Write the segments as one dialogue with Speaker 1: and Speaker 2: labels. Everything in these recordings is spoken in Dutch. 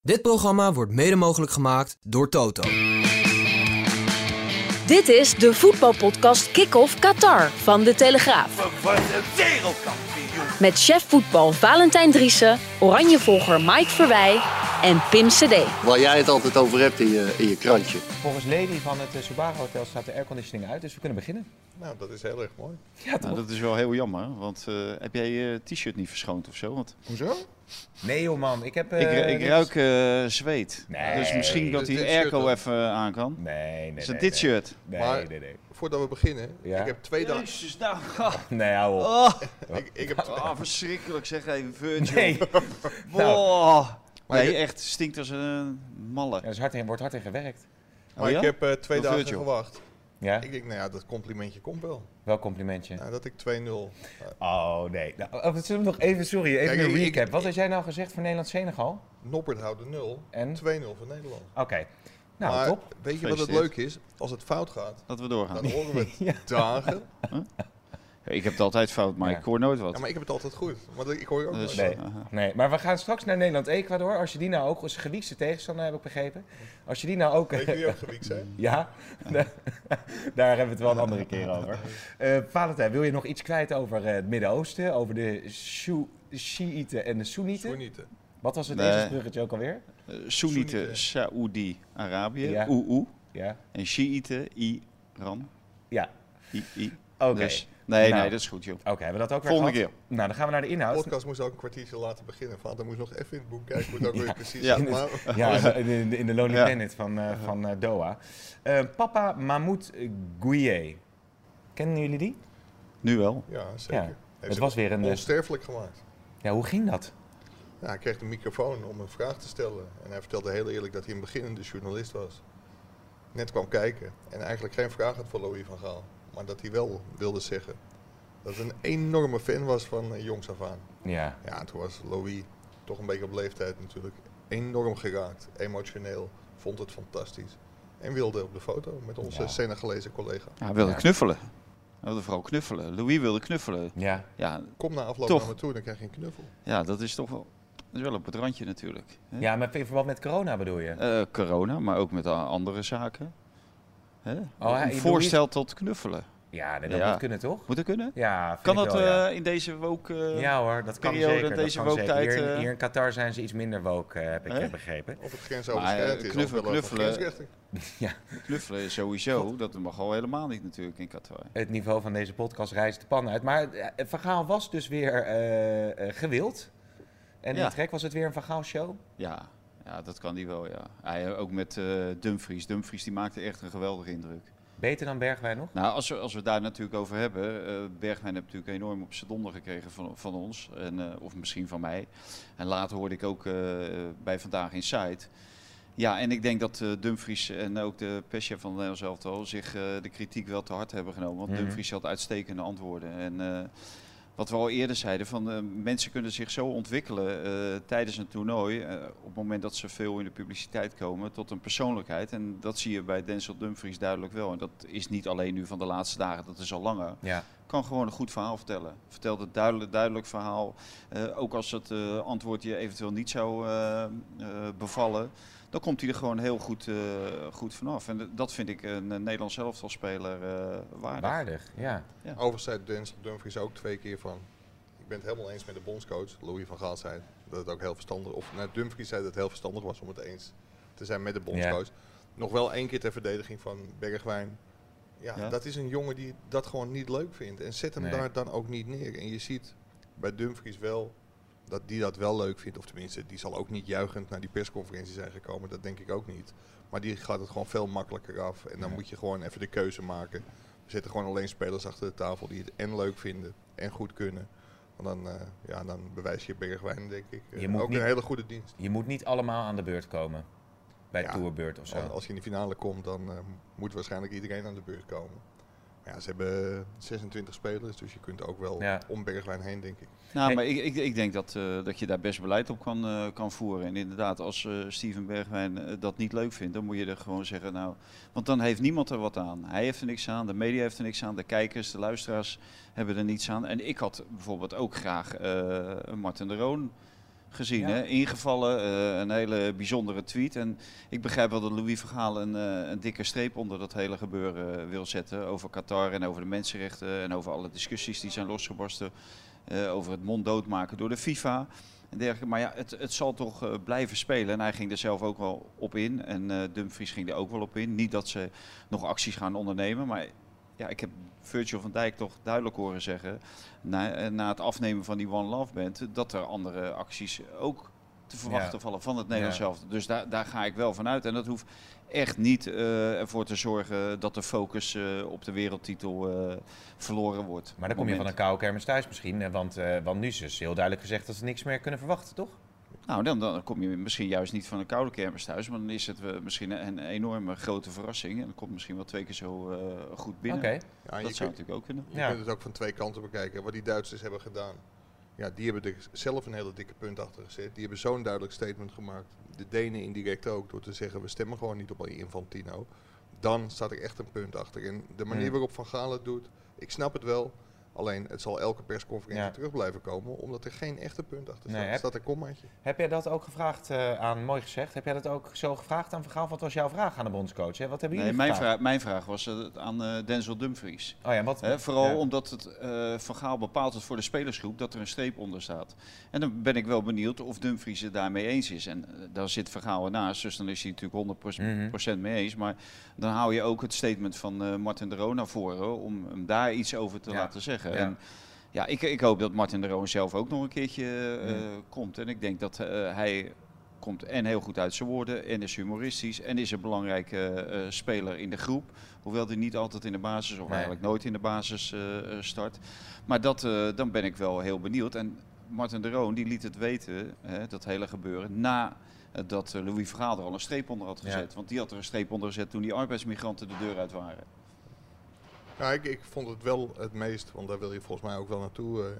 Speaker 1: Dit programma wordt mede mogelijk gemaakt door Toto.
Speaker 2: Dit is de voetbalpodcast Kick-Off Qatar van De Telegraaf.
Speaker 3: Wordt een wereldkampioen.
Speaker 2: Met chef voetbal Valentijn Driessen, Oranjevolger Mike Verwij en Pim Cedee.
Speaker 4: Waar jij het altijd over hebt in je, in je krantje.
Speaker 5: Volgens Lely van het eh, Subaru Hotel staat de airconditioning uit, dus we kunnen beginnen.
Speaker 6: Nou, dat is heel erg mooi.
Speaker 7: Nou, dat is wel heel jammer, want eh, heb jij je t-shirt niet verschoond of zo? Want
Speaker 6: Hoezo?
Speaker 5: Nee joh man, ik heb... eh,
Speaker 7: ik, ik
Speaker 5: dit-
Speaker 7: ruik eh, zweet,
Speaker 5: Nee,
Speaker 7: dus misschien dat
Speaker 6: dus
Speaker 7: die
Speaker 6: dit shirt
Speaker 7: airco
Speaker 6: dan?
Speaker 7: even eh, aan kan.
Speaker 5: Nee, nee, nee.
Speaker 7: is het dit shirt?
Speaker 5: Nee,
Speaker 6: Maar-
Speaker 5: nee, nee.
Speaker 6: Voordat we beginnen,
Speaker 5: Ja?
Speaker 6: ik heb twee dagen.
Speaker 7: Jezus, nou, ah,
Speaker 5: Nee, hou op.
Speaker 7: oh,
Speaker 6: Ik, ik heb tw-
Speaker 7: ah, verschrikkelijk zeg even, Virgil.
Speaker 5: Nee. Nou,
Speaker 7: Wow.
Speaker 6: Maar
Speaker 7: nee,
Speaker 6: ik-
Speaker 7: echt, stinkt als een malle.
Speaker 5: Er is hard in, wordt hard in gewerkt.
Speaker 6: maar
Speaker 7: Oh ja?
Speaker 6: ik heb eh, twee
Speaker 7: Van
Speaker 6: dagen
Speaker 7: Virgil.
Speaker 6: gewacht.
Speaker 5: Ja,
Speaker 6: Ik denk, nou ja, dat complimentje komt wel.
Speaker 5: wel complimentje.
Speaker 6: Nou, dat ik 2-0. eh,
Speaker 5: Oh nee. Nou, oh, zullen we nog even, sorry, even
Speaker 6: Kijk,
Speaker 5: een
Speaker 6: ik-
Speaker 5: recap.
Speaker 6: ik-
Speaker 5: Wat had jij nou gezegd voor Nederland-Senegal?
Speaker 6: Noppert houdt de 0.
Speaker 5: En?
Speaker 6: 2-0 voor Nederland.
Speaker 5: Oké. Nou,
Speaker 6: maar
Speaker 5: top.
Speaker 6: weet je wat het
Speaker 7: Gefeliciteerd.
Speaker 6: leuk is? Als het fout gaat,
Speaker 7: Laten we doorgaan.
Speaker 6: dan horen we het dagen.
Speaker 7: Ik heb het altijd fout, maar
Speaker 5: Ja.
Speaker 7: ik hoor nooit wat.
Speaker 6: Ja, maar ik heb het altijd goed. Want ik hoor je ook
Speaker 7: Dus-
Speaker 6: nooit.
Speaker 5: Nee. Nee, maar we gaan straks naar Nederland-Ecuador. Als je die nou ook, onze geliefde tegenstander heb ik begrepen. Als je die nou ook...
Speaker 6: Weet je wie ook gewiekt zijn?
Speaker 5: Ja, daar daar hebben we het wel een andere keer over. Eh Valentijn, wil je nog iets kwijt over eh, het Midden-Oosten? Over de Shu- Shiiten en de
Speaker 6: Voor
Speaker 5: Soenieten?
Speaker 6: niet. hè?
Speaker 5: Wat was het
Speaker 7: Nee.
Speaker 5: eerste bruggetje ook alweer?
Speaker 7: Eh,
Speaker 6: Soenieten.
Speaker 7: Soenieten, Saoedi-Arabië,
Speaker 5: Ja.
Speaker 7: Oeoe.
Speaker 5: Ja,
Speaker 7: En Shiiten, Iran.
Speaker 5: ja.
Speaker 7: I, I.
Speaker 5: oké.
Speaker 7: Dus- nee,
Speaker 5: Nou.
Speaker 7: nee, dat is goed, joh.
Speaker 5: Oké, hebben we dat ook weer
Speaker 7: Volgende
Speaker 5: gehad? Nou, dan gaan we naar de
Speaker 6: De
Speaker 5: inhoud.
Speaker 6: podcast moest ook een kwartiertje later beginnen. Vader moest nog even in het boek kijken hoe dat ook weer precies
Speaker 7: Ja.
Speaker 6: zat. Maar,
Speaker 5: Ja, in de- in de, in de Lonely
Speaker 7: Ja.
Speaker 5: Planet van, eh, van eh, Doha. Eh, papa Mahmoud Gouye. Kennen jullie die?
Speaker 7: Nu wel.
Speaker 6: ja, zeker.
Speaker 5: Ja.
Speaker 6: Heeft
Speaker 5: Het
Speaker 6: ze
Speaker 5: was weer een... eh,
Speaker 6: onsterfelijk gemaakt.
Speaker 5: Ja, hoe ging dat?
Speaker 6: Ja, hij kreeg de microfoon om een vraag te stellen. En hij vertelde heel eerlijk dat hij een beginnende journalist was. Net kwam kijken en eigenlijk geen vraag had voor Louis van Gaal. Maar dat hij wel wilde zeggen dat hij een enorme fan was van eh, jongs af aan.
Speaker 5: Ja,
Speaker 6: Ja, toen was Louis toch een beetje op leeftijd natuurlijk enorm geraakt. Emotioneel, vond het fantastisch. En wilde op de foto met onze
Speaker 5: Ja.
Speaker 6: Senegalese collega.
Speaker 7: Ja, hij wilde
Speaker 5: Ja.
Speaker 7: knuffelen. Hij wilde vooral knuffelen. Louis wilde knuffelen.
Speaker 5: ja.
Speaker 7: Ja,
Speaker 6: Kom na afloop
Speaker 7: Toch.
Speaker 6: naar me toe, dan krijg je een knuffel.
Speaker 7: ja dat is toch wel, dat is wel op het randje natuurlijk. hè?
Speaker 5: ja maar in verband met corona bedoel je?
Speaker 7: Eh, corona, maar ook met a- andere zaken. Hè?
Speaker 5: hij-
Speaker 7: een
Speaker 5: Louis-
Speaker 7: voorstel tot knuffelen.
Speaker 5: Ja, nee, dat
Speaker 7: Ja.
Speaker 5: moet kunnen toch?
Speaker 7: Moet dat kunnen?
Speaker 5: Ja, vind
Speaker 7: Kan
Speaker 5: ik
Speaker 7: dat
Speaker 5: wel, ja.
Speaker 7: eh, in deze woke... eh,
Speaker 5: ja hoor, dat kan
Speaker 7: periode,
Speaker 5: zeker.
Speaker 7: deze
Speaker 5: dat kan zeker.
Speaker 7: woke-tijd,
Speaker 5: Hier, in-
Speaker 7: eh,
Speaker 5: hier in Qatar zijn ze iets minder woke, eh, heb ik
Speaker 7: Hè?
Speaker 5: eh, begrepen.
Speaker 6: Of het grensoverschrijdend is. of
Speaker 7: knuffelen,
Speaker 6: wel over
Speaker 7: knuffelen.
Speaker 6: grensrechten.
Speaker 7: Knuffelen is sowieso, dat mag al helemaal niet natuurlijk in Qatar.
Speaker 5: Het niveau van deze podcast reist de pan uit. Maar het verhaal was dus weer eh, eh, gewild. En in
Speaker 7: Ja.
Speaker 5: het trek was het weer een verhaal show.
Speaker 7: Ja, ja dat kan die wel, ja. Hij, ook met eh, Dumfries. Dumfries die maakte echt een geweldige indruk.
Speaker 5: Beter dan Bergwijn nog?
Speaker 7: Nou, als we, als we het daar natuurlijk over hebben. eh Bergwijn heeft natuurlijk enorm op z'n donder gekregen van, van ons. En, eh, of misschien van mij. En later hoorde ik ook eh, bij Vandaag Insight. Ja, en ik denk dat eh, Dumfries en ook de perschef van Nederlands Elftal zich eh, de kritiek wel te hard hebben genomen. Want
Speaker 5: Mhm.
Speaker 7: Dumfries had uitstekende antwoorden. En eh, wat we al eerder zeiden, van eh, mensen kunnen zich zo ontwikkelen eh, tijdens een toernooi. eh, op het moment dat ze veel in de publiciteit komen, tot een persoonlijkheid. En dat zie je bij Denzel Dumfries duidelijk wel. En dat is niet alleen nu van de laatste dagen, dat is al langer
Speaker 5: Ja.
Speaker 7: kan gewoon een goed verhaal vertellen. Vertelt het duidelijk, duidelijk verhaal. Eh, ook als het eh, antwoord je eventueel niet zou eh, eh, bevallen, dan komt hij er gewoon heel goed, eh, goed vanaf. En d- dat vind ik een, eh, Nederlands elftalspeler eh waardig.
Speaker 5: Waardig, ja.
Speaker 6: Overigens zei Denzel Dumfries ook twee keer van... Ik ben het helemaal eens met de bondscoach. Louis van Gaal zei dat het ook heel verstandig... Of nou, Dumfries zei dat het heel verstandig was om het eens te zijn met de bondscoach. Nog wel één keer ter verdediging van Bergwijn. Ja,
Speaker 7: Ja.
Speaker 6: dat is een jongen die dat gewoon niet leuk vindt. En zet hem
Speaker 5: Nee.
Speaker 6: daar dan ook niet neer. En je ziet bij Dumfries wel dat die dat wel leuk vindt. Of tenminste, die zal ook niet juichend naar die persconferentie zijn gekomen. Dat denk ik ook niet. Maar die gaat het gewoon veel makkelijker af. En dan moet je gewoon even de keuze maken. Er zitten gewoon alleen spelers achter de tafel die het en leuk vinden en goed kunnen. Want dan, eh, ja, dan bewijs je Bergwijn, denk ik, eh,
Speaker 5: Je moet
Speaker 6: ook
Speaker 5: niet-
Speaker 6: een hele goede dienst.
Speaker 5: Je moet niet allemaal aan de beurt komen. Bij
Speaker 6: Ja.
Speaker 5: Tourbeurt of zo.
Speaker 6: Als- Als je in de finale komt, dan eh, moet waarschijnlijk iedereen aan de beurt komen. Maar ja, ze hebben eh, 26 spelers, dus je kunt ook wel
Speaker 5: Ja.
Speaker 6: om Bergwijn heen, denk ik.
Speaker 7: Nou,
Speaker 5: Hey.
Speaker 7: maar ik, ik, ik denk dat, eh, dat je daar best beleid op kan, eh, kan voeren. En inderdaad, als eh, Steven Bergwijn eh, dat niet leuk vindt, dan moet je er gewoon zeggen, nou, want dan heeft niemand er wat aan. Hij heeft er niks aan, de media heeft er niks aan, de kijkers, de luisteraars hebben er niets aan. En ik had bijvoorbeeld ook graag eh, een Martin de Roon gezien.
Speaker 5: Ja.
Speaker 7: Hè? Ingevallen, eh, een hele bijzondere tweet. En ik begrijp wel dat Louis Vergaal een, eh, een dikke streep onder dat hele gebeuren eh, wil zetten. Over Qatar en over de mensenrechten en over alle discussies die zijn losgebarsten. eh, over het monddood maken door de FIFA en dergelijke. Maar ja, het, het zal toch eh, blijven spelen. En hij ging er zelf ook wel op in. En eh, Dumfries ging er ook wel op in. Niet dat ze nog acties gaan ondernemen. Maar ja, ik heb Virgil van Dijk toch duidelijk horen zeggen. Na, eh, na het afnemen van die One Love Band. dat er andere acties ook te verwachten
Speaker 5: Ja.
Speaker 7: vallen van het Nederlands
Speaker 5: Ja.
Speaker 7: zelf. Dus daar, daar ga ik wel van uit. En dat hoeft echt niet eh, ervoor te zorgen dat de focus eh, op de wereldtitel eh, verloren wordt.
Speaker 5: Maar dan kom je van
Speaker 7: Moment.
Speaker 5: een koude kermis thuis misschien. eh, Want, eh, want nu is dus heel duidelijk gezegd dat ze niks meer kunnen verwachten, toch?
Speaker 7: Nou, dan, dan kom je misschien juist niet van een koude kermis thuis. Maar dan is het eh, misschien een, een enorme grote verrassing. En dan komt misschien wel twee keer zo eh, goed binnen.
Speaker 5: Oké.
Speaker 6: Ja, en je
Speaker 7: Dat zou
Speaker 6: kunt-
Speaker 7: natuurlijk ook kunnen.
Speaker 6: Je
Speaker 5: Ja.
Speaker 6: kunt het ook van twee kanten bekijken. Wat die Duitsers hebben gedaan. Ja, die hebben er zelf een hele dikke punt achter gezet. Die hebben zo'n duidelijk statement gemaakt. De Denen indirect ook. Door te zeggen, we stemmen gewoon niet op die Infantino. Dan staat er echt een punt achter. En de manier
Speaker 5: Hmm.
Speaker 6: waarop Van Gaal het doet, ik snap het wel. Alleen, het zal elke persconferentie
Speaker 5: Ja.
Speaker 6: terug blijven komen. Omdat er geen echte punt achter
Speaker 5: Nee,
Speaker 6: staat.
Speaker 5: heb-
Speaker 6: Er staat een kommaatje.
Speaker 5: Heb jij dat ook gevraagd eh, aan, mooi gezegd, heb jij dat ook zo gevraagd aan Vergaal? Wat was jouw vraag aan de bondscoach? Hè? Wat hebben
Speaker 7: Nee,
Speaker 5: jullie
Speaker 7: mijn,
Speaker 5: gevraagd?
Speaker 7: vraag, mijn vraag was eh, aan eh, Denzel Dumfries.
Speaker 5: Oh ja, wat?
Speaker 7: Hè, vooral
Speaker 5: ja.
Speaker 7: omdat het eh Van Gaal bepaalt het voor de spelersgroep dat er een streep onder staat. En dan ben ik wel benieuwd of Dumfries het daarmee eens is. En eh, daar zit Van Gaal ernaast, dus dan is hij natuurlijk 100%
Speaker 5: Mhm.
Speaker 7: mee eens. Maar dan hou je ook het statement van eh, Martin de Roon naar voren om hem daar iets over te
Speaker 5: Ja.
Speaker 7: laten zeggen.
Speaker 5: Ja.
Speaker 7: En ja, ik, ik hoop dat Martin de Roon zelf ook nog een keertje eh,
Speaker 5: Mhm.
Speaker 7: komt. En ik denk dat eh, hij komt en heel goed uit zijn woorden en is humoristisch en is een belangrijke eh, eh, speler in de groep. Hoewel die niet altijd in de basis of
Speaker 5: Nee.
Speaker 7: eigenlijk nooit in de basis eh, eh, start. Maar dat, eh, dan ben ik wel heel benieuwd. En Martin de Roon die liet het weten, hè, dat hele gebeuren, na eh, dat eh, Louis Vergaal er al een streep onder had
Speaker 5: Ja.
Speaker 7: gezet. Want die had er een streep onder gezet toen die arbeidsmigranten de deur uit waren.
Speaker 6: Nou, ik, ik vond het wel het meest, want daar wil je volgens mij ook wel naartoe. eh,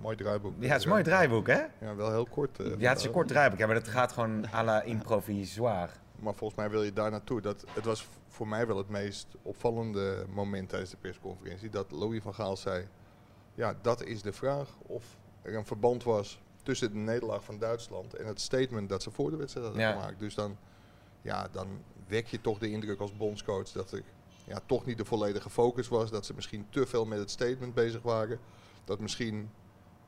Speaker 6: mooi draaiboek.
Speaker 5: Ja, het is een mooi draaiboek, hè?
Speaker 6: Ja, wel heel kort. eh,
Speaker 5: Ja, het is een
Speaker 6: vandaag.
Speaker 5: kort draaiboek, ja, maar dat gaat gewoon à la improvisoire.
Speaker 6: Maar volgens mij wil je daar naartoe. Dat, het was v- voor mij wel het meest opvallende moment tijdens de persconferentie. Dat Louis van Gaal zei, ja, dat is de vraag. Of er een verband was tussen de nederlaag van Duitsland en het statement dat ze voor de wedstrijd hadden
Speaker 5: Ja.
Speaker 6: gemaakt. Dus dan, ja, dan wek je toch de indruk als bondscoach dat er ja, toch niet de volledige focus was. Dat ze misschien te veel met het statement bezig waren. Dat misschien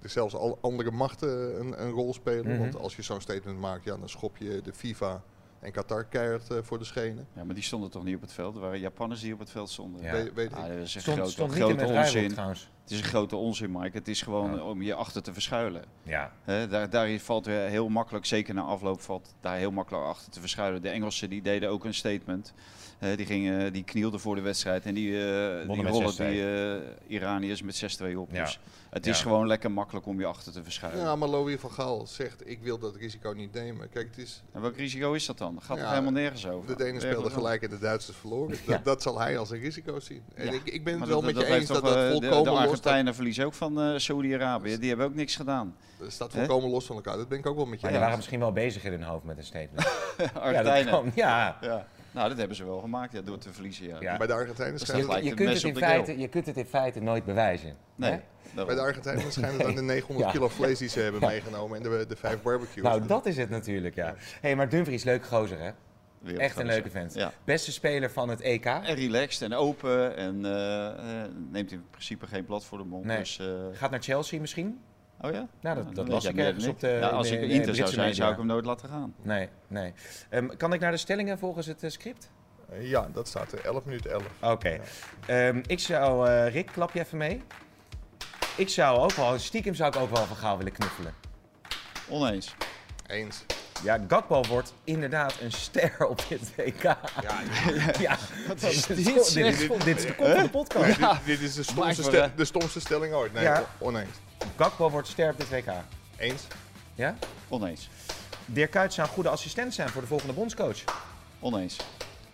Speaker 6: er zelfs al andere machten een, een rol spelen.
Speaker 5: Mhm.
Speaker 6: Want als je zo'n statement maakt, ja, dan schop je de FIFA en Qatar keihard eh, voor de schenen.
Speaker 7: Ja, maar die stonden toch niet op het veld? Er waren Japanners die op het veld stonden.
Speaker 5: Ja.
Speaker 6: We- weet ik.
Speaker 7: Ah, dat is een
Speaker 5: Stond,
Speaker 7: grote,
Speaker 5: stond niet in
Speaker 7: grote
Speaker 5: mijn draaiboek,
Speaker 7: onzin.
Speaker 5: trouwens.
Speaker 7: Het is een grote onzin, Mike. Het is gewoon
Speaker 5: Ja.
Speaker 7: om je achter te verschuilen.
Speaker 5: Ja,
Speaker 7: Hè, daar, daarin valt eh, heel makkelijk, zeker na afloop, valt daar heel makkelijk achter te verschuilen. De Engelsen die deden ook een statement. Eh, die, gingen, die knielden voor de wedstrijd en die, eh die
Speaker 5: met
Speaker 7: rollen
Speaker 5: 6-2.
Speaker 7: die eh, Iraniërs met 6-2 op.
Speaker 5: Ja.
Speaker 7: Dus het
Speaker 5: Ja.
Speaker 7: is gewoon lekker makkelijk om je achter te verschuilen.
Speaker 6: Ja, maar Louis van Gaal zegt, ik wil dat risico niet nemen. Kijk, het is,
Speaker 7: En welk risico is dat dan? Gaat
Speaker 6: Ja,
Speaker 7: het helemaal nergens over?
Speaker 6: de Denen speelden
Speaker 7: Nergens over.
Speaker 6: gelijk en de Duitsers verloren.
Speaker 5: Ja.
Speaker 6: Dat, dat zal hij als een risico zien. En
Speaker 7: Ja.
Speaker 6: ik, ik ben het
Speaker 7: Maar
Speaker 6: wel met je
Speaker 7: heeft
Speaker 6: eens dat
Speaker 7: toch,
Speaker 6: dat
Speaker 7: eh, de-
Speaker 6: volkomen
Speaker 7: De,
Speaker 6: los staat,
Speaker 7: Argentijnen verliezen ook van eh Saudi-Arabië. Die hebben ook niks gedaan.
Speaker 6: dat staat volkomen los van elkaar. Dat ben ik ook wel met je
Speaker 5: maar
Speaker 6: eens.
Speaker 5: die waren misschien wel bezig in hun hoofd met een statement. ja, dat
Speaker 7: Argentijnen.
Speaker 5: kan, ja.
Speaker 7: Ja. Nou, dat hebben ze wel gemaakt ja, door te verliezen. Ja.
Speaker 5: Ja.
Speaker 6: Bij de Argentijnen
Speaker 7: is
Speaker 6: schijnt
Speaker 7: gelijk.
Speaker 6: het,
Speaker 5: Je,
Speaker 7: lijkt
Speaker 5: je
Speaker 7: een
Speaker 5: kunt
Speaker 7: mes op
Speaker 5: het in
Speaker 7: de
Speaker 5: feite,
Speaker 7: keel.
Speaker 5: je kunt het in feite nooit bewijzen.
Speaker 7: Nee,
Speaker 5: hè?
Speaker 6: bij
Speaker 7: daarom.
Speaker 6: de Argentijnen schijnt het aan de 900
Speaker 5: Ja.
Speaker 6: kilo vlees die ze hebben meegenomen en de, de vijf barbecues.
Speaker 5: Nou, dat is het natuurlijk, ja. hey, maar Dumfries, leuke gozer, hè?
Speaker 7: Wereldgozer.
Speaker 5: Echt een leuke vent.
Speaker 7: Ja.
Speaker 5: Beste speler van het EK.
Speaker 7: En relaxed en open en eh, eh, neemt in principe geen blad voor de mond.
Speaker 5: Nee.
Speaker 7: Dus, eh,
Speaker 5: Gaat naar Chelsea misschien?
Speaker 7: oh ja?
Speaker 5: Nou, dat-
Speaker 7: dan
Speaker 5: dat
Speaker 7: weet
Speaker 5: las
Speaker 7: jij
Speaker 5: ik
Speaker 7: meer
Speaker 5: ergens
Speaker 7: dan
Speaker 5: op de-
Speaker 7: Ja, als
Speaker 5: in de-
Speaker 7: ik
Speaker 5: in de
Speaker 7: Inter zou
Speaker 5: Britse
Speaker 7: zijn,
Speaker 5: media.
Speaker 7: zou ik hem nooit laten gaan.
Speaker 5: Nee, nee. Ehm, kan ik naar de stellingen volgens het eh, script?
Speaker 6: Eh, Ja, dat staat er. 11 minuten 11.
Speaker 5: Oké. Ehm, ik zou... eh, Rick, klap je even mee. Ik zou ook wel... Stiekem zou ik ook wel van Gaal willen knuffelen.
Speaker 7: Oneens.
Speaker 6: Eens.
Speaker 5: Ja, Gakpo wordt inderdaad een ster op dit WK. Ja, wat is dit? is- Dit is, dit is de kop van de podcast.
Speaker 6: Dit, dit is de
Speaker 7: maakt
Speaker 6: stomste,
Speaker 7: me
Speaker 6: stel-
Speaker 7: wel.
Speaker 6: de stomste stelling ooit. Nee,
Speaker 5: Ja.
Speaker 6: o- oneens.
Speaker 5: Gakpo wordt ster op dit WK.
Speaker 6: Eens.
Speaker 5: Ja?
Speaker 7: Oneens.
Speaker 5: Dirk Kuyt zou een goede assistent zijn voor de volgende bondscoach.
Speaker 7: Oneens.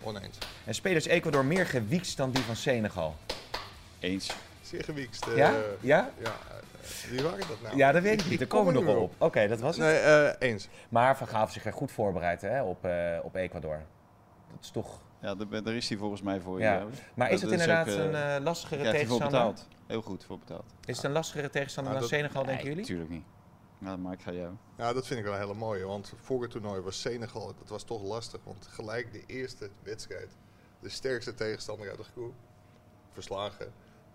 Speaker 6: Oneens.
Speaker 5: En spelers Ecuador meer gewiekst dan die van Senegal.
Speaker 7: Eens.
Speaker 6: Zeer gewiekst. eh,
Speaker 5: Ja? Ja?
Speaker 6: Ja, eh, wie waren dat nou?
Speaker 5: Ja, dat weet ik niet. Daar komen we
Speaker 6: kom
Speaker 5: nog
Speaker 6: er
Speaker 5: wel
Speaker 6: nu
Speaker 5: op. Oké, dat was het.
Speaker 6: Nee, eh, eens.
Speaker 5: Maar Van Gaal heeft zich er goed voorbereid hè, op, eh, op Ecuador. Dat is toch...
Speaker 7: Ja, daar, ben- daar is hij volgens mij voor.
Speaker 5: Ja.
Speaker 7: ja.
Speaker 5: Maar is het
Speaker 7: Dat
Speaker 5: inderdaad
Speaker 7: ook, eh,
Speaker 5: een eh, lastigere
Speaker 7: krijgt hij voor
Speaker 5: tegenstander?
Speaker 7: betaald. Heel goed voor betaald.
Speaker 5: Is het een lastigere tegenstander
Speaker 6: Ah,
Speaker 5: dan
Speaker 6: dat-
Speaker 5: Senegal, denken
Speaker 7: Nee,
Speaker 5: jullie?
Speaker 7: Tuurlijk niet. Nou, maar ik ga jou.
Speaker 6: Ja, dat vind ik wel een hele mooie. Want voor het toernooi was Senegal, dat was toch lastig. Want gelijk de eerste wedstrijd, de sterkste tegenstander uit de groep, verslagen.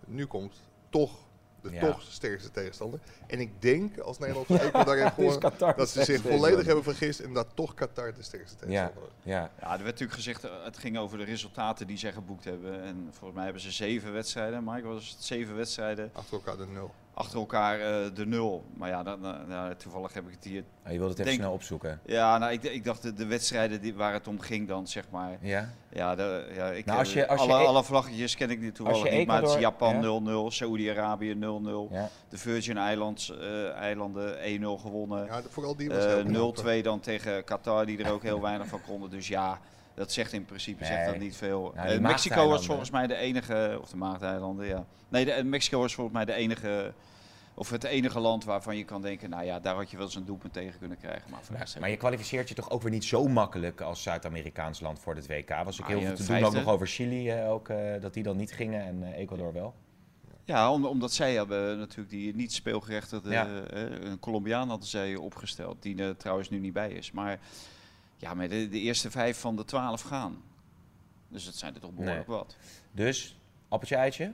Speaker 6: Nu komt toch de
Speaker 5: Ja.
Speaker 6: toch sterkste tegenstander. En ik denk, als Nederland zeker daarin
Speaker 5: is
Speaker 6: gewoon,
Speaker 5: Qatar
Speaker 6: dat ze zich
Speaker 5: sterkste
Speaker 6: volledig
Speaker 5: tegenstander.
Speaker 6: hebben vergist en dat toch Qatar de sterkste
Speaker 5: Ja,
Speaker 6: tegenstander was.
Speaker 5: ja.
Speaker 7: Ja, er werd natuurlijk gezegd, eh, het ging over de resultaten die zij geboekt hebben. En volgens mij hebben ze zeven wedstrijden. Mike, was het zeven wedstrijden
Speaker 6: Achter elkaar de nul.
Speaker 7: achter elkaar eh, de nul. Maar ja, dan, dan- ja, toevallig heb ik het hier.
Speaker 5: Oh, je wilde het even
Speaker 7: Denk-
Speaker 5: snel opzoeken.
Speaker 7: Ja, nou, ik, d- ik dacht de, de wedstrijden die, waar het om ging dan, zeg maar.
Speaker 5: Ja?
Speaker 7: Ja, de, ja ik,
Speaker 5: Nou, als
Speaker 7: eh,
Speaker 5: je- als je
Speaker 7: alle,
Speaker 5: e-
Speaker 7: alle vlaggetjes ken ik niet toevallig
Speaker 5: als je
Speaker 7: niet, maar het is
Speaker 5: Ecuador- ja.
Speaker 7: Japan 0-0, Saoedi-Arabië 0-0,
Speaker 5: Ja.
Speaker 7: de Virgin Islands, eh, eilanden 1-0 gewonnen.
Speaker 6: Ja, de- vooral die was
Speaker 7: Eh,
Speaker 6: heel knap.
Speaker 7: 0-2 dan tegen Qatar, die er ook heel weinig van konden. Dus ja, dat zegt in principe zegt dat
Speaker 5: Nee.
Speaker 7: niet veel.
Speaker 5: Nou,
Speaker 7: Eh,
Speaker 5: die
Speaker 7: Mexico was
Speaker 5: Maagdeilanden.
Speaker 7: volgens mij de enige, of de Maagdeilanden, ja. Nee, de, eh, Mexico was volgens mij de enige, of het enige land waarvan je kan denken, nou ja, daar had je wel eens een doelpunt tegen kunnen krijgen. Maar voor de rest
Speaker 5: Maar je kwalificeert je toch ook weer niet zo makkelijk als Zuid-Amerikaans land voor het WK. Was ook
Speaker 7: Ah,
Speaker 5: heel
Speaker 7: je
Speaker 5: veel te doen
Speaker 7: vijfde.
Speaker 5: ook nog over Chili, eh, ook, eh, dat die dan niet gingen en eh, Ecuador wel.
Speaker 7: Ja, om- omdat zij hebben natuurlijk die niet speelgerechtigde,
Speaker 5: Ja.
Speaker 7: eh, een Colombiaan hadden zij opgesteld, die er trouwens nu niet bij is. Maar ja, maar de, de eerste vijf van de twaalf gaan. Dus dat zijn er toch behoorlijk wat.
Speaker 5: Dus, appeltje eitje?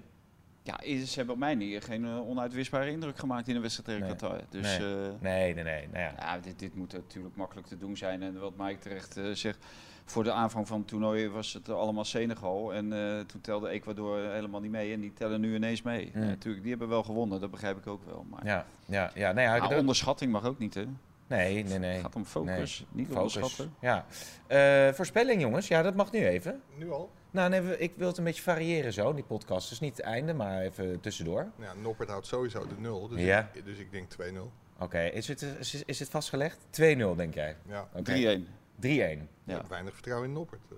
Speaker 7: Ja, i- ze hebben op mij niet geen eh, onuitwisbare indruk gemaakt in de wedstrijd tegen
Speaker 5: Nee.
Speaker 7: Qatar. Dus
Speaker 5: nee.
Speaker 7: eh,
Speaker 5: nee, nee, nee. Nou ja.
Speaker 7: ja, dit, dit moet natuurlijk makkelijk te doen zijn. En wat Mike terecht eh, zegt, voor de aanvang van het toernooi was het allemaal Senegal. En eh, toen telde Ecuador helemaal niet mee. En die tellen nu ineens mee.
Speaker 5: Mm.
Speaker 7: Ja, natuurlijk, die hebben wel gewonnen, dat begrijp ik ook wel. Maar...
Speaker 5: Ja, ja, ja. Nou ja,
Speaker 7: Maar
Speaker 5: dat-
Speaker 7: onderschatting mag ook niet, hè?
Speaker 5: nee, nee,
Speaker 7: Het
Speaker 5: nee.
Speaker 7: gaat om focus, niet
Speaker 5: Focus.
Speaker 7: onderschatten.
Speaker 5: Ja. Eh, voorspelling, jongens. Ja, dat mag nu even.
Speaker 6: Nu al?
Speaker 5: Nou, nee, we- ik wil het een beetje variëren zo, die podcast. Dus niet het einde, maar even tussendoor.
Speaker 6: Ja, Noppert houdt sowieso de nul. Dus,
Speaker 5: Ja.
Speaker 6: ik, dus ik denk 2-0.
Speaker 5: Oké, is, het, is, is het vastgelegd? 2-0, denk jij?
Speaker 6: Ja.
Speaker 5: Oké.
Speaker 7: 3-1.
Speaker 5: 3-1.
Speaker 6: Ik
Speaker 7: Ja.
Speaker 6: heb weinig vertrouwen in Noppert. eh.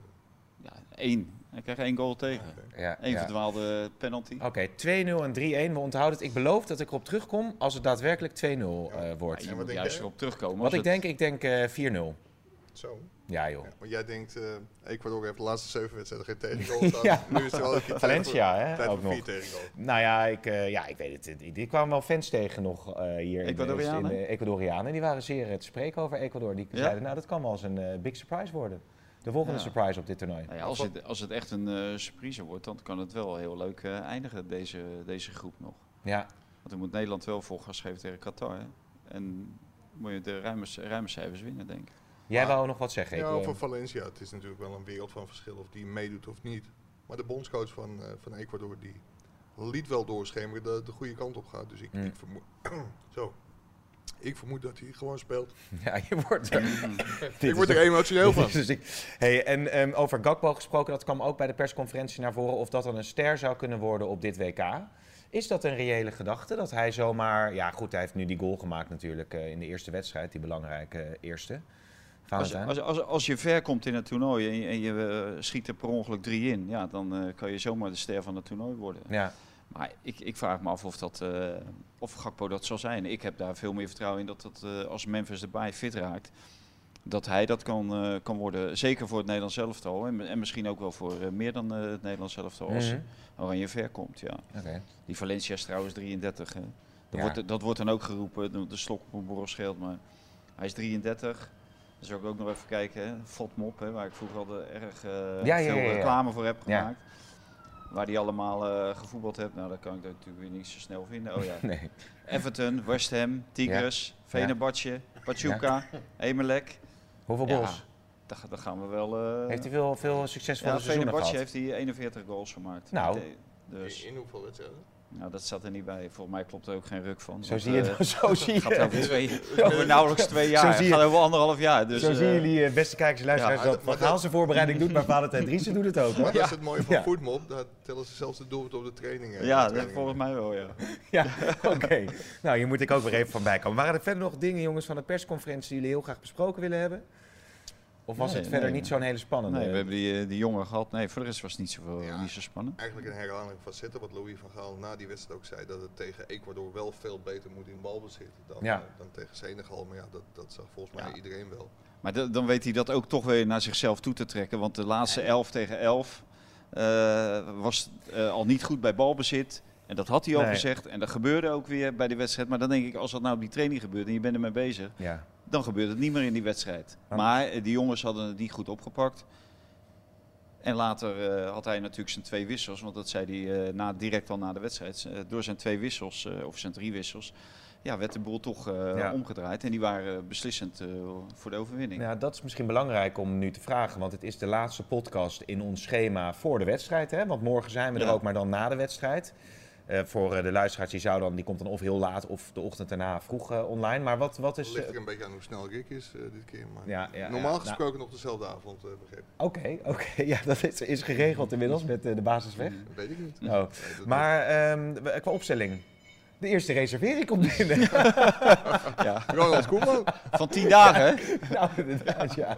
Speaker 7: ja, 1. Hij krijgt één goal tegen.
Speaker 5: Ja,
Speaker 7: Eén
Speaker 5: ja.
Speaker 7: verdwaalde penalty.
Speaker 5: Oké, 2-0 en 3-1. We onthouden het. Ik beloof dat ik erop terugkom als het daadwerkelijk 2-0 eh, wordt.
Speaker 7: Ja, je
Speaker 6: En
Speaker 7: moet
Speaker 6: wat denk
Speaker 7: juist
Speaker 6: jij?
Speaker 7: erop terugkomen.
Speaker 5: Wat
Speaker 7: als
Speaker 5: ik
Speaker 7: het-
Speaker 5: denk, ik denk eh 4-0.
Speaker 6: Zo.
Speaker 5: Ja, joh.
Speaker 6: Ja, maar jij denkt, eh, Ecuador heeft de laatste zeven wedstrijden geen tegengoal gehad.
Speaker 5: Ja.
Speaker 6: Nu is er wel een keer
Speaker 5: Valencia,
Speaker 6: tijd voor-
Speaker 5: hè,
Speaker 6: Tijd
Speaker 5: ook
Speaker 6: voor vier
Speaker 5: nog.
Speaker 6: tegengoals.
Speaker 5: Nou ja, ik, eh, ja, ik weet het. Ik- Ik kwam wel fans tegen nog eh, hier in de- in,
Speaker 7: Ecuadorianen?
Speaker 5: de Ecuadorianen. Die waren zeer eh, te spreken over Ecuador. Die
Speaker 7: Ja?
Speaker 5: zeiden, nou, dat kan wel eens een eh, big surprise worden. De volgende
Speaker 7: Ja.
Speaker 5: surprise op dit toernooi.
Speaker 7: Nou ja, als, het, als het echt een eh, surprise wordt, dan kan het wel heel leuk eh, eindigen, deze, deze groep nog.
Speaker 5: Ja,
Speaker 7: Want dan moet Nederland wel vol gas geven tegen Qatar. hè. En moet je de ruime, ruime cijfers winnen, denk ik.
Speaker 5: jij
Speaker 6: Maar-
Speaker 5: wou nog wat zeggen. Ik,
Speaker 6: Ja,
Speaker 5: eh,
Speaker 6: over Valencia. Het is natuurlijk wel een wereld van verschil of die meedoet of niet. Maar de bondscoach van, eh, van Ecuador die liet wel doorschemeren dat het de goede kant op gaat. Dus ik,
Speaker 5: Hmm.
Speaker 6: ik vermoed... Zo. Ik vermoed dat hij gewoon speelt.
Speaker 5: ja, je wordt
Speaker 7: Mm.
Speaker 5: er... Dit
Speaker 6: ik word
Speaker 5: is
Speaker 6: er
Speaker 5: toch-
Speaker 6: emotioneel van.
Speaker 5: Dus ik- hey, en ehm, over Gakpo gesproken, dat kwam ook bij de persconferentie naar voren. Of dat dan een ster zou kunnen worden op dit WK. Is dat een reële gedachte? Dat hij zomaar. Ja, goed, hij heeft nu die goal gemaakt natuurlijk eh, in de eerste wedstrijd. Die belangrijke eh, eerste.
Speaker 7: Als,
Speaker 5: Valentijn?
Speaker 7: als, als, als je ver komt in het toernooi en je, en je eh, schiet er per ongeluk drie in, ja, dan eh, kan je zomaar de ster van het toernooi worden.
Speaker 5: Ja,
Speaker 7: Maar ik, ik vraag me af of, dat, eh, of Gakpo dat zal zijn. Ik heb daar veel meer vertrouwen in dat, dat eh, als Memphis erbij fit raakt, dat hij dat kan, eh, kan worden. Zeker voor het Nederlands elftal en, en misschien ook wel voor eh, meer dan eh, het Nederlands elftal als
Speaker 5: Mhm.
Speaker 7: Oranje ver komt. Ja.
Speaker 5: oké.
Speaker 7: Die Valencia is trouwens 33. Hè. Dat,
Speaker 5: Ja.
Speaker 7: wordt, dat wordt dan ook geroepen, de- de slok op een borrel scheelt. Maar hij is 33. Dan zou ik ook nog even kijken. hè. Fotmop, hè, waar ik vroeger al de- erg eh,
Speaker 5: ja, ja,
Speaker 7: veel
Speaker 5: ja.
Speaker 7: reclame voor heb
Speaker 5: Ja.
Speaker 7: gemaakt. Waar die allemaal eh, gevoetbald hebt. Nou, dat kan ik natuurlijk weer niet zo snel vinden. Oh ja.
Speaker 5: Nee.
Speaker 7: Everton, West Ham, Tigres, Venebatje, Pachuca, Emelec.
Speaker 5: Hoeveel
Speaker 7: Ja,
Speaker 5: goals?
Speaker 7: daar, daar gaan we wel... eh,
Speaker 5: Heeft hij veel, veel succesvolle
Speaker 7: ja,
Speaker 5: seizoenen gehad?
Speaker 7: Fenerbahce heeft hij 41 goals gemaakt.
Speaker 5: Nou.
Speaker 7: Dus,
Speaker 6: In hoeveel wedstrijden?
Speaker 7: nou, dat zat er niet bij. Volgens mij klopt er ook geen ruk van.
Speaker 5: Zo
Speaker 7: Want,
Speaker 5: zie je
Speaker 7: eh,
Speaker 5: het. Zo zie
Speaker 7: het gaat
Speaker 5: je
Speaker 7: over, twee, over nauwelijks twee jaar.
Speaker 5: zie
Speaker 7: Het
Speaker 5: je-
Speaker 7: gaat over anderhalf jaar. Dus,
Speaker 5: Zo
Speaker 7: eh,
Speaker 5: zien jullie, eh, beste kijkers en luisteraars,
Speaker 6: Ja,
Speaker 5: dat
Speaker 6: maar
Speaker 5: Van
Speaker 6: dat-
Speaker 5: Gaal zijn voorbereiding doet, maar Valentijn Driessen doet het ook.
Speaker 6: Maar
Speaker 5: Hoor.
Speaker 6: dat is het mooie van
Speaker 5: Ja.
Speaker 6: ja. Daar tellen ze zelfs de doelpunt op de trainingen.
Speaker 7: Ja, dat
Speaker 6: De trainingen.
Speaker 7: volgens mij wel, ja.
Speaker 5: Ja, oké. Nou, hier moet ik ook weer even van bijkomen. Waren er verder nog dingen, jongens, van de persconferentie die jullie heel graag besproken willen hebben? Of was
Speaker 7: Nee,
Speaker 5: het verder
Speaker 7: nee.
Speaker 5: niet zo'n hele spannende?
Speaker 7: Nee, we hebben die, eh, die jongen gehad. Nee, voor de rest was het niet zo, eh,
Speaker 6: Ja.
Speaker 7: niet zo spannend.
Speaker 6: Eigenlijk een herhaling van zitten, wat Louis van Gaal na die wedstrijd ook zei, dat het tegen Ecuador wel veel beter moet in balbezit dan,
Speaker 5: Ja.
Speaker 6: eh, dan tegen Senegal. Maar ja, dat, dat zag volgens mij
Speaker 7: Ja.
Speaker 6: iedereen wel.
Speaker 7: Maar da- dan weet hij dat ook toch weer naar zichzelf toe te trekken. Want de laatste 11 tegen 11 eh, was eh, al niet goed bij balbezit. En dat had hij al
Speaker 5: Nee.
Speaker 7: gezegd. En dat gebeurde ook weer bij de wedstrijd. Maar dan denk ik, als dat nou op die training gebeurt en je bent ermee bezig,
Speaker 5: Ja.
Speaker 7: dan gebeurt het niet meer in die wedstrijd.
Speaker 5: Ja.
Speaker 7: Maar eh, die jongens hadden het niet goed opgepakt. En later eh, had hij natuurlijk zijn twee wissels, want dat zei hij eh, na, direct al na de wedstrijd. Eh, door zijn twee wissels, eh, of zijn drie wissels, ja, werd de boel toch eh,
Speaker 5: Ja.
Speaker 7: omgedraaid. En die waren beslissend eh, voor de overwinning.
Speaker 5: Nou, dat is misschien belangrijk om nu te vragen, want het is de laatste podcast in ons schema voor de wedstrijd. Hè? Want morgen zijn we er
Speaker 7: Ja.
Speaker 5: ook, maar dan na de wedstrijd. Eh, voor eh, de luisteraars, die, zou dan, die komt dan of heel laat of de ochtend daarna vroeg eh, online. Maar wat, wat is...
Speaker 6: ligt er
Speaker 5: eh,
Speaker 6: een beetje aan hoe snel Rick is eh, dit keer. Maar
Speaker 5: Ja, ja,
Speaker 6: normaal
Speaker 5: ja. Nou.
Speaker 6: gesproken nog dezelfde avond, eh begreep ik.
Speaker 5: Oké, oké. ja, dat is, is geregeld inmiddels met eh, de basisweg.
Speaker 6: Dat weet ik niet.
Speaker 5: Oh.
Speaker 6: Nee, dat-
Speaker 5: Maar ehm, we- qua opstelling. De eerste reservering komt binnen.
Speaker 6: Ronald Koeman.
Speaker 7: Van tien dagen, hè?
Speaker 5: nou, inderdaad, ja.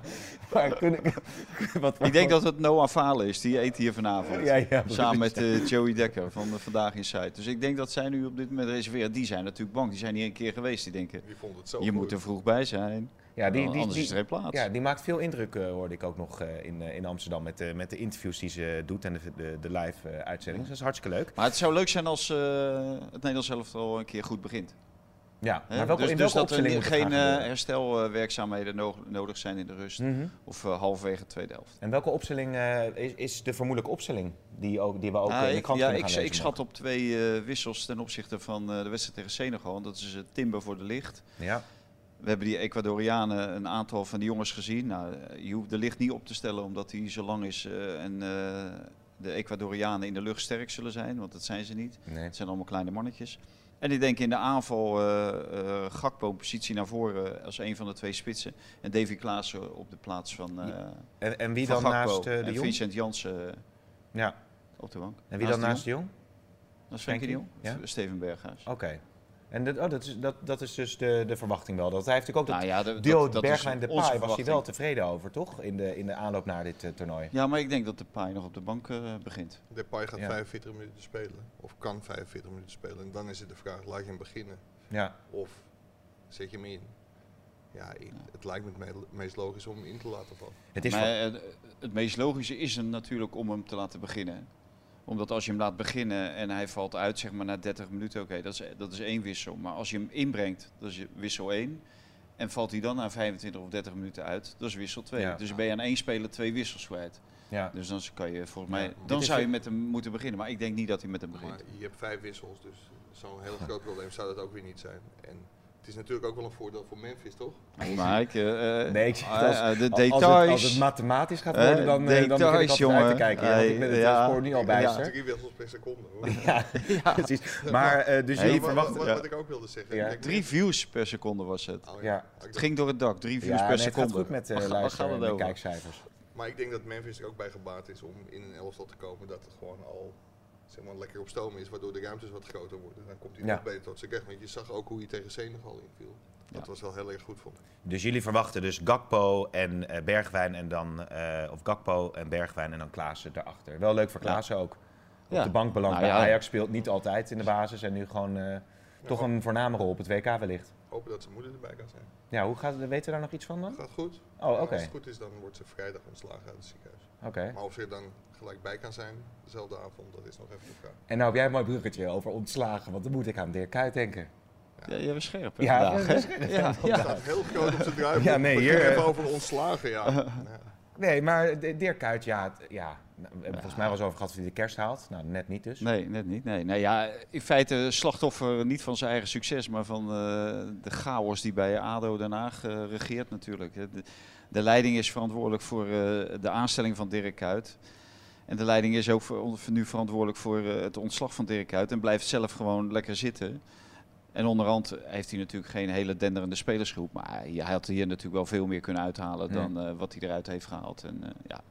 Speaker 5: Maar kun ik... wat,
Speaker 7: Ik denk dat het Noah Falen is, die eet hier vanavond.
Speaker 5: Ja, ja.
Speaker 7: Samen met eh, Joey Dekker van eh, Vandaag Inside. Dus ik denk dat zij nu op dit moment reserveren. Die zijn natuurlijk bang, die zijn hier een keer geweest. Die denken,
Speaker 6: Die vond het zo
Speaker 7: je
Speaker 6: goed.
Speaker 7: moet er vroeg bij zijn,
Speaker 5: Ja, die, die,
Speaker 7: anders
Speaker 5: die-
Speaker 7: is er geen plaats.
Speaker 5: ja, die maakt veel indruk, eh, hoorde ik ook nog eh, in, eh, in Amsterdam. Met, de- met de interviews die ze doet en de, de, de live eh uitzendingen. Dat is hartstikke leuk.
Speaker 7: Maar het zou leuk zijn als eh, het Nederlands elftal een keer goed begint.
Speaker 5: Ja,
Speaker 7: hè?
Speaker 5: maar welke,
Speaker 7: dus,
Speaker 5: in
Speaker 7: dus
Speaker 5: welke
Speaker 7: dat er
Speaker 5: opstelling
Speaker 7: ni-
Speaker 5: moet het
Speaker 7: geen
Speaker 5: gaan
Speaker 7: eh,
Speaker 5: gebeuren?
Speaker 7: herstelwerkzaamheden no- nodig zijn in de rust.
Speaker 5: Mhm.
Speaker 7: Of eh, halverwege de tweede helft.
Speaker 5: En welke opstelling eh, is, is de vermoedelijke opstelling die, ook, die we ook
Speaker 7: Ah,
Speaker 5: eh, in de
Speaker 7: ik,
Speaker 5: krant
Speaker 7: ja,
Speaker 5: kunnen
Speaker 7: ik,
Speaker 5: gaan
Speaker 7: ik
Speaker 5: lezen
Speaker 7: schat op twee eh, wissels ten opzichte van eh, de wedstrijd tegen Senegal. Dat is eh, Timber voor de licht.
Speaker 5: morgen? Ja,
Speaker 7: We hebben die Ecuadorianen, een aantal van die jongens gezien. Nou, eh, je hoeft de licht niet op te stellen omdat hij zo lang is. eh, en eh, de Ecuadorianen in de lucht sterk zullen zijn, want dat zijn ze niet.
Speaker 5: nee.
Speaker 7: Het zijn allemaal kleine mannetjes. En ik denk in de aanval eh eh, Gakpo een positie naar voren als een van de twee spitsen. En Davy Klaassen op de plaats van, eh
Speaker 5: En, en wie
Speaker 7: van
Speaker 5: dan
Speaker 7: Gakpo.
Speaker 5: naast eh, de
Speaker 7: en
Speaker 5: Jong?
Speaker 7: Vincent Jansen
Speaker 5: Ja.
Speaker 7: op de bank.
Speaker 5: En wie dan naast
Speaker 7: de
Speaker 5: de Jong?
Speaker 7: Jong? Dat is Frenkie de Jong?
Speaker 5: Frenkie,
Speaker 7: Of Steven Berghuis.
Speaker 5: Oké. En dat, oh, dat, is, dat, dat is dus de, de verwachting wel. Dat hij heeft natuurlijk ook
Speaker 7: Nou
Speaker 5: dat
Speaker 7: ja, de-
Speaker 5: duo
Speaker 7: dat- dat is
Speaker 5: Bergwijn de
Speaker 7: onze
Speaker 5: Pai was hij
Speaker 7: verwachting.
Speaker 5: wel tevreden over, toch? In de, in de aanloop naar dit eh, toernooi.
Speaker 7: Ja, maar ik denk dat de paai nog op de bank eh, begint.
Speaker 6: Depay gaat
Speaker 5: Ja.
Speaker 6: 45 minuten spelen. Of kan 45 minuten spelen. En dan is het de vraag, laat je hem beginnen?
Speaker 5: Ja.
Speaker 6: Of zet je hem in? Ja, ik- het lijkt me het me- meest logisch om hem in te laten vallen.
Speaker 5: Het is
Speaker 7: maar
Speaker 5: van-
Speaker 7: eh, het meest logische is hem natuurlijk om hem te laten beginnen. Omdat als je hem laat beginnen en hij valt uit, zeg maar na 30 minuten, oké, dat, is, dat is één wissel. Maar als je hem inbrengt, dat is wissel 1. En valt hij dan na 25 of 30 minuten uit, dat is wissel 2.
Speaker 5: Ja.
Speaker 7: Dus dan ben je aan één speler twee wissels kwijt.
Speaker 5: ja.
Speaker 7: Dus dan kan je volgens
Speaker 6: Ja,
Speaker 7: mij,
Speaker 6: dit
Speaker 7: dan
Speaker 5: is
Speaker 7: zou je
Speaker 5: het-
Speaker 7: met hem moeten beginnen. Maar ik denk niet dat hij met hem
Speaker 6: Maar
Speaker 7: begint.
Speaker 6: je hebt vijf wissels, dus zo'n heel groot probleem zou dat ook weer niet zijn. En het is natuurlijk ook wel een voordeel voor Memphis, toch?
Speaker 7: Maar ik, eh, eh,
Speaker 5: Nee, ik zeg het
Speaker 7: eh,
Speaker 5: als-
Speaker 7: eh, de
Speaker 5: Als het-
Speaker 7: details.
Speaker 5: Als het, mathematisch gaat worden,
Speaker 7: Eh,
Speaker 5: dan, eh, dan begin ik
Speaker 7: details,
Speaker 5: altijd uit te
Speaker 7: jongen.
Speaker 5: kijken. ja, want ik ben het
Speaker 7: Ja.
Speaker 5: eh, spoor nu al
Speaker 7: Ja.
Speaker 5: bijster.
Speaker 6: Drie wissels per seconde. Hoor.
Speaker 5: Ja, precies. Maar, eh, dus
Speaker 7: Hey,
Speaker 5: jullie
Speaker 6: wat,
Speaker 5: verwachten...
Speaker 6: wat,
Speaker 7: ja.
Speaker 6: wat ik ook wilde zeggen.
Speaker 5: Ja.
Speaker 6: ik denk-
Speaker 7: Drie views per seconde was het.
Speaker 6: Oh,
Speaker 5: Ja.
Speaker 6: Ik
Speaker 7: Het
Speaker 6: denk-
Speaker 7: ging door het dak, drie views per
Speaker 5: Ja, nee, het
Speaker 7: seconde.
Speaker 5: gaat goed met
Speaker 7: Waar
Speaker 5: de
Speaker 7: ga- waar gaat
Speaker 5: luister en
Speaker 7: het
Speaker 5: de
Speaker 7: over?
Speaker 5: kijkcijfers.
Speaker 6: Maar ik denk dat Memphis er ook bij gebaat is om in een elftal te komen dat het gewoon al zeg maar, lekker op stoom is, waardoor de ruimtes wat groter worden. Dan komt hij
Speaker 5: Ja.
Speaker 6: nog beter tot zijn recht. Want je zag ook hoe hij tegen Senegal inviel. Dat
Speaker 7: Ja.
Speaker 6: was wel heel erg goed vond ik.
Speaker 5: Dus jullie verwachten dus Gakpo en eh, Bergwijn en dan... eh, of Gakpo en Bergwijn en dan Klaassen erachter. Wel leuk voor
Speaker 7: Ja.
Speaker 5: Klaassen ook. Op
Speaker 7: Ja.
Speaker 5: de bank beland
Speaker 7: Nou
Speaker 5: bij
Speaker 7: ja.
Speaker 5: Ajax speelt niet altijd in de basis. En nu gewoon eh, toch een voorname rol op het WK wellicht.
Speaker 6: Hopen dat zijn moeder erbij kan zijn.
Speaker 5: Ja, hoe gaat het? Weten we daar nog iets van dan?
Speaker 6: Gaat goed.
Speaker 5: Oh, oké.
Speaker 6: Maar Als het goed is, dan wordt ze vrijdag ontslagen uit het ziekenhuis.
Speaker 5: Oké.
Speaker 6: Maar of ze er dan gelijk bij kan zijn, dezelfde avond, dat is nog even de vraag.
Speaker 5: En nou heb jij een mooi bruggetje over ontslagen. Want dan moet ik aan Dirk Kuyt denken.
Speaker 7: Ja, jij was scherp. hè,
Speaker 5: Ja,
Speaker 7: vandaag, hè? ja,
Speaker 6: Het
Speaker 7: ja.
Speaker 6: staat heel groot op zijn draaiboek.
Speaker 5: Ja, nee,
Speaker 6: We
Speaker 5: hier,
Speaker 6: kunnen
Speaker 5: eh,
Speaker 6: even over ontslagen, ja. ja.
Speaker 5: Nee, maar D- Dirk Kuyt, ja, het- ja. Nou, we hebben het volgens mij wel eens over gehad of hij de kerst haalt. Nou, net niet dus.
Speaker 7: Nee, net niet. Nee. Nee, ja, in feite eh, slachtoffer niet van zijn eigen succes, maar van eh, de chaos die bij ADO Den Haag eh, regeert natuurlijk. hè. De, de leiding is verantwoordelijk voor eh, de aanstelling van Dirk Kuyt. En de leiding is ook voor, voor nu verantwoordelijk voor eh, het ontslag van Dirk Kuyt en blijft zelf gewoon lekker zitten. En onderhand heeft hij natuurlijk geen hele denderende spelersgroep, maar hij hij had hier natuurlijk wel veel meer kunnen uithalen
Speaker 5: Ja.
Speaker 7: dan eh, wat hij eruit heeft gehaald. En, eh, ja,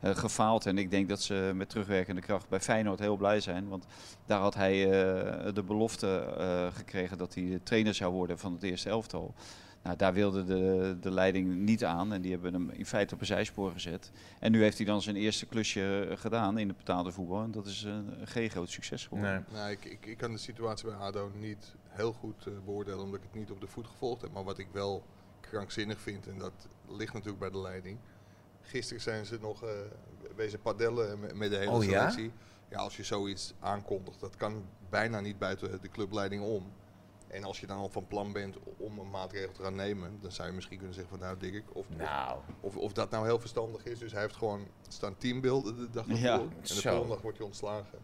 Speaker 7: eh, gefaald. En ik denk dat ze met terugwerkende kracht bij Feyenoord heel blij zijn. Want daar had hij eh, de belofte eh, gekregen dat hij de trainer zou worden van het eerste elftal. Nou, daar wilde de, de leiding niet aan en die hebben hem in feite op een zijspoor gezet. En nu heeft hij dan zijn eerste klusje eh, gedaan in de betaalde voetbal. En dat is een, geen groot succes geworden.
Speaker 5: Nee.
Speaker 6: Nou, ik, ik, ik kan de situatie bij ADO niet heel goed eh, beoordelen, omdat ik het niet op de voet gevolgd heb. Maar wat ik wel krankzinnig vind, en dat ligt natuurlijk bij de leiding. Gisteren zijn ze nog eh wezen padellen met- met de hele
Speaker 5: Oh ja?
Speaker 6: selectie. Ja? als je zoiets aankondigt, dat kan bijna niet buiten de clubleiding om. En als je dan al van plan bent om een maatregel te gaan nemen, dan zou je misschien kunnen zeggen van nou Dirk, of, of-
Speaker 5: Nou,
Speaker 6: of, of dat nou heel verstandig is. Dus hij heeft gewoon er staan teambeelden de dag ervoor.
Speaker 7: Ja,
Speaker 6: en de
Speaker 5: zo.
Speaker 6: volgende dag wordt hij ontslagen.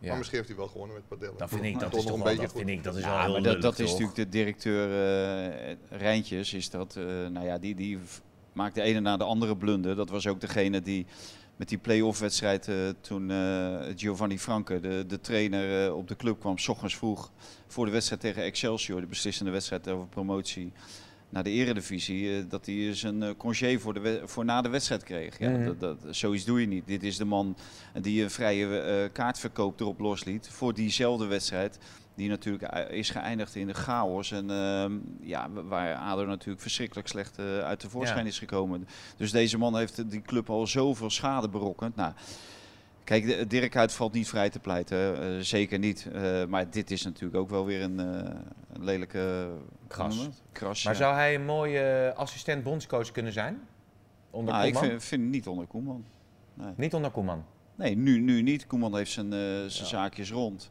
Speaker 6: Maar misschien heeft hij wel gewonnen met padellen.
Speaker 5: dan vind ik dat
Speaker 6: Toch
Speaker 5: is
Speaker 6: nog
Speaker 5: toch
Speaker 6: een
Speaker 5: wel,
Speaker 6: beetje
Speaker 5: dat vind
Speaker 6: goed.
Speaker 5: ik dat is wel
Speaker 7: Ja,
Speaker 5: heel
Speaker 7: maar dat,
Speaker 5: lullig,
Speaker 7: dat is
Speaker 5: toch?
Speaker 7: natuurlijk de directeur eh, Rijntjes. Is dat, eh, nou ja, die, die v- maakt de ene na de andere blunder. Dat was ook degene die met die play-off wedstrijd eh, toen eh, Giovanni Franke, de, de trainer, eh, op de club kwam. S ochtends vroeg voor de wedstrijd tegen Excelsior, de beslissende wedstrijd over promotie naar de eredivisie. eh, dat hij zijn eh, congé voor, de we- voor na de wedstrijd kreeg. Ja,
Speaker 5: Mhm.
Speaker 7: dat, dat, zoiets doe je niet. Dit is de man die een vrije eh, kaartverkoop erop losliet voor diezelfde wedstrijd. Die natuurlijk eh, is geëindigd in de chaos. En ehm, ja, wa- waar ADO natuurlijk verschrikkelijk slecht eh, uit de voorschijn
Speaker 5: Ja.
Speaker 7: is gekomen. Dus deze man heeft die club al zoveel schade berokkend. Nou, kijk, de- Dirk Huyt valt niet vrij te pleiten. eh, zeker niet. Eh, maar dit is natuurlijk ook wel weer een, eh, een lelijke... eh, hoe
Speaker 5: Kras.
Speaker 7: noem je het? Kras,
Speaker 5: Maar
Speaker 7: ja.
Speaker 5: zou hij een mooie eh, assistent bondscoach kunnen zijn? Onder
Speaker 7: Nou, ik
Speaker 5: Koeman?
Speaker 7: vind, vind het niet onder Koeman.
Speaker 5: Niet onder Koeman.
Speaker 7: Nee, nu, nu niet. Koeman heeft zijn, eh, zijn zaakjes rond.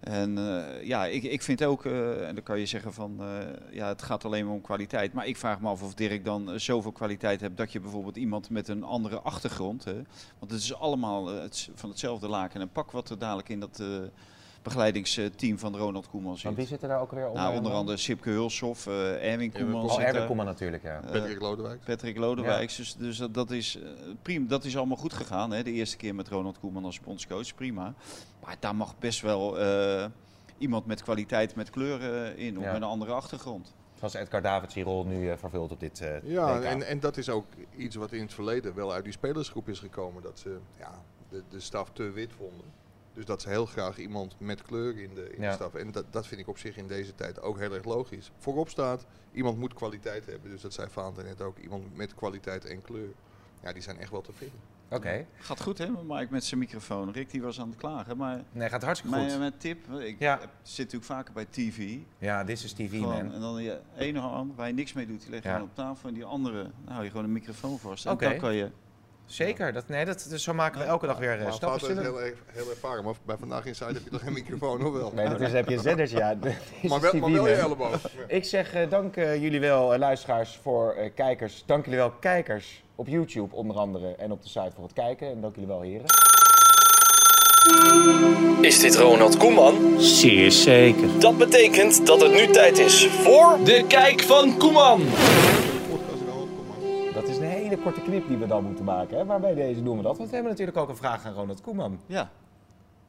Speaker 7: En eh, ja, ik, ik vind ook, eh, en dan kan je zeggen van, eh, ja, het gaat alleen maar om kwaliteit. Maar ik vraag me af of Dirk dan eh, zoveel kwaliteit hebt dat je bijvoorbeeld iemand met een andere achtergrond, hè, want het is allemaal eh, het, van hetzelfde laken en pak wat er dadelijk in dat eh, begeleidingsteam van Ronald Koeman
Speaker 5: Want wie
Speaker 7: zit.
Speaker 5: zit er daar ook weer onder?
Speaker 7: Nou, onder andere Sipke Hulshoff, eh Erwin Koeman
Speaker 5: Oh,
Speaker 7: zit
Speaker 5: Erwin
Speaker 7: daar.
Speaker 5: Koeman natuurlijk, ja.
Speaker 7: Eh,
Speaker 6: Patrick Lodewijk.
Speaker 7: Patrick Lodewijks. Dus, dus dat, dat is eh, prima. Dat is allemaal goed gegaan. Hè? De eerste keer met Ronald Koeman als bondscoach. Prima. Maar daar mag best wel eh, iemand met kwaliteit, met kleuren eh, in. Of
Speaker 5: Ja.
Speaker 7: met een andere achtergrond.
Speaker 5: Zoals Edgar Davids die rol nu eh, vervult op dit eh
Speaker 6: Ja,
Speaker 5: WK.
Speaker 6: en, en dat is ook iets wat in het verleden wel uit die spelersgroep is gekomen. Dat ze ja, de, de staf te wit vonden. Dus dat ze heel graag iemand met kleur in de, in
Speaker 5: Ja.
Speaker 6: de staf. En dat, dat vind ik op zich in deze tijd ook heel erg logisch. Voorop staat, iemand moet kwaliteit hebben. Dus dat zei Vaanten net ook. Iemand met kwaliteit en kleur. Ja, die zijn echt wel te vinden.
Speaker 5: Oké.
Speaker 7: Gaat goed, hè? Mike met zijn microfoon. Rick die was aan het klagen. Maar
Speaker 5: Nee, gaat hartstikke goed.
Speaker 7: mijn, mijn tip. Ik
Speaker 5: Ja.
Speaker 7: heb- zit natuurlijk vaker bij TV.
Speaker 5: ja, dit is TV,
Speaker 7: Gewoon, eh,
Speaker 5: man.
Speaker 7: en dan je ene hand waar je niks mee doet, die leg je
Speaker 5: Ja.
Speaker 7: gewoon op tafel. En die andere, nou, hou je gewoon een microfoon vast. En
Speaker 5: Oké.
Speaker 7: dan kan je.
Speaker 5: Zeker. Dat, nee, dat, dus zo maken we elke dag weer eh,
Speaker 6: Maar
Speaker 5: stappen.
Speaker 6: Vaanten is
Speaker 5: zullen we-
Speaker 6: heel, erg- heel ervaren. Maar bij Vandaag Inside heb je toch geen microfoon, of wel?
Speaker 5: Nee, dat is, heb je een zendertje, ja. Dit is
Speaker 6: Maar wel,
Speaker 5: TV,
Speaker 6: maar wel je
Speaker 5: man.
Speaker 6: elleboog. Ja.
Speaker 5: Ik zeg eh, dank eh, jullie wel, eh, luisteraars, voor eh, kijkers. Dank jullie wel, kijkers, op YouTube onder andere en op de site voor het kijken. En dank jullie wel, heren.
Speaker 1: Is dit Ronald Koeman?
Speaker 8: Zeer zeker.
Speaker 1: Dat betekent dat het nu tijd is voor de kijk van Koeman.
Speaker 6: Podcast wel opgemaakt.
Speaker 5: Dat is een hele korte knip die we dan moeten maken. Hè? Maar bij deze doen we dat. Want we hebben natuurlijk ook een vraag aan Ronald Koeman.
Speaker 7: Ja.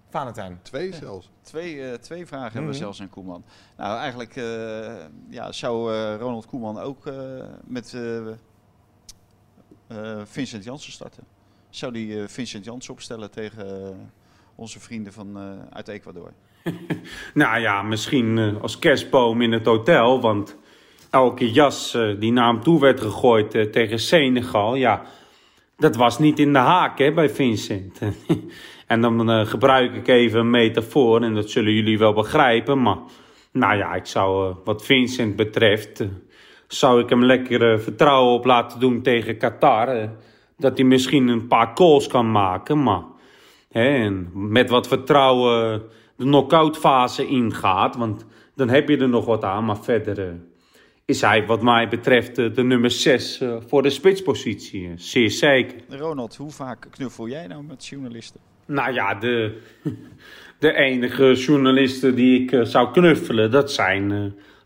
Speaker 5: Valentijn.
Speaker 6: Twee zelfs.
Speaker 7: Twee, eh, twee vragen hebben we zelfs aan Koeman. Nou, eigenlijk eh, ja, zou eh, Ronald Koeman ook eh, met eh, eh, Vincent Janssen starten. Zou die eh, Vincent Janssen opstellen tegen eh, onze vrienden van, eh, uit Ecuador?
Speaker 8: Nou ja, misschien eh, als kerstboom in het hotel. Want elke jas eh, die naar hem toe werd gegooid eh, tegen Senegal, ja, dat was niet in de haak hè, bij Vincent. en dan eh, gebruik ik even een metafoor en dat zullen jullie wel begrijpen. Maar nou ja, ik zou eh, wat Vincent betreft, eh, zou ik hem lekker eh, vertrouwen op laten doen tegen Qatar. eh, dat hij misschien een paar calls kan maken, maar... Hè, en met wat vertrouwen de knock-out fase ingaat. Want dan heb je er nog wat aan. Maar verder eh, is hij wat mij betreft eh, de nummer 6 voor de spitspositie. eh, Zeer zeker.
Speaker 7: Ronald, hoe vaak knuffel jij nou met journalisten?
Speaker 8: Nou ja, de, de enige journalisten die ik eh, zou knuffelen, dat zijn eh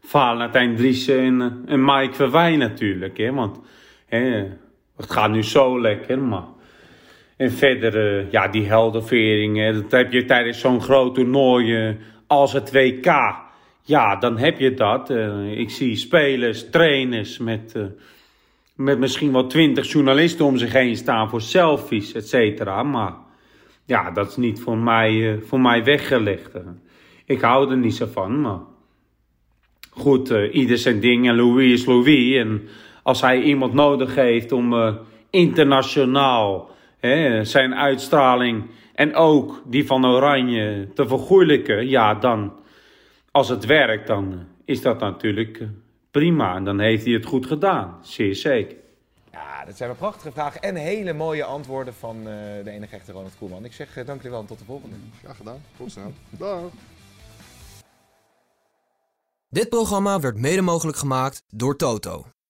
Speaker 8: Valentijn Driessen en, eh, en Mike Verwij natuurlijk. Hè? Want hè, het gaat nu zo lekker, maar... En verder, eh, ja, die heldenvering, hè, dat heb je tijdens zo'n groot toernooi eh, als het WK. Ja, dan heb je dat. Eh, ik zie spelers, trainers met... eh, met misschien wel twintig journalisten om zich heen staan voor selfies, et cetera. Maar ja, dat is niet voor mij, eh, voor mij weggelegd. eh. Ik hou er niet zo van, maar... Goed, eh, ieder zijn ding en Louis is Louis. En als hij iemand nodig heeft om eh, internationaal hè, zijn uitstraling... en ook die van Oranje te vergoeilijken, ja, dan... Als het werkt, dan eh, is dat natuurlijk eh, prima. En dan heeft hij het goed gedaan, zeer zeker.
Speaker 5: Ja, Ja, dat zijn wel prachtige vragen en hele mooie antwoorden van eh, de enige echte Ronald Koelman. Ik zeg eh, dank jullie wel en tot de volgende.
Speaker 6: Graag gedaan. Tot snel. Dag.
Speaker 9: Dit programma werd mede mogelijk gemaakt door Toto.